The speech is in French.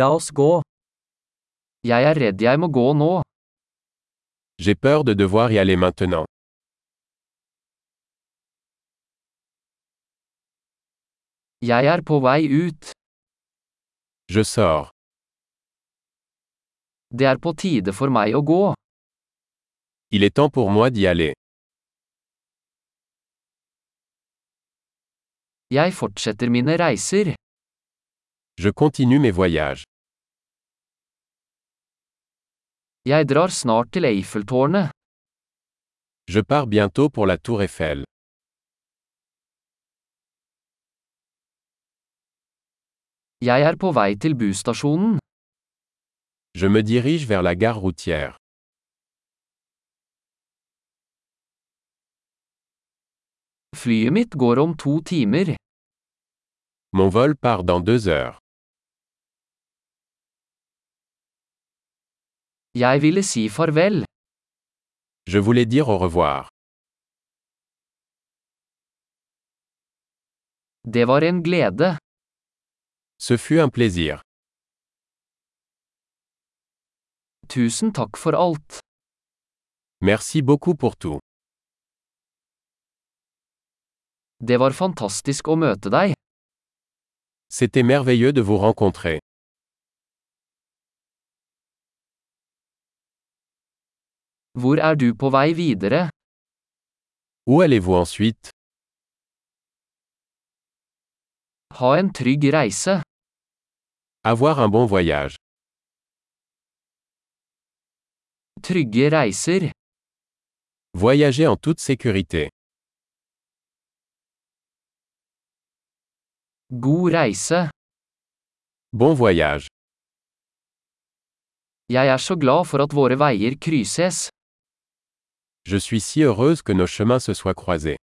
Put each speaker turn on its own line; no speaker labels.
La oss gå. Jeg er redd jeg må gå nå.
J'ai peur de devoir y aller maintenant.
Jeg er på vei ut.
Je sors.
Det er på tide for meg å gå.
Il est temps pour moi d'y aller.
Jeg fortsetter mine reiser.
Je continue mes voyages.
Jeg drar snart til Eiffeltårnet.
Je pars bientôt pour la Tour Eiffel.
Jeg er på vei til busstasjonen.
Je me dirige vers la gare routière.
Flyet mitt går om to timer.
Mon vol part dans deux heures.
Jeg ville si farvel.
Je voulais dire au revoir.
Det var en glede.
Ce fut un plaisir.
Tusen takk for alt.
Merci beaucoup pour tout.
Det var fantastisk å møte deg.
C'était merveilleux de vous rencontrer.
Hvor er du på vei videre?
Où allez-vous ensuite
Ha en trygg reise.
Avoir un bon voyage.
Trygge reiser.
Voyager en toute sécurité.
God reise.
Bon voyage.
Jeg er så glad for at våre veier krysses.
Je suis si heureuse que nos chemins se soient croisés.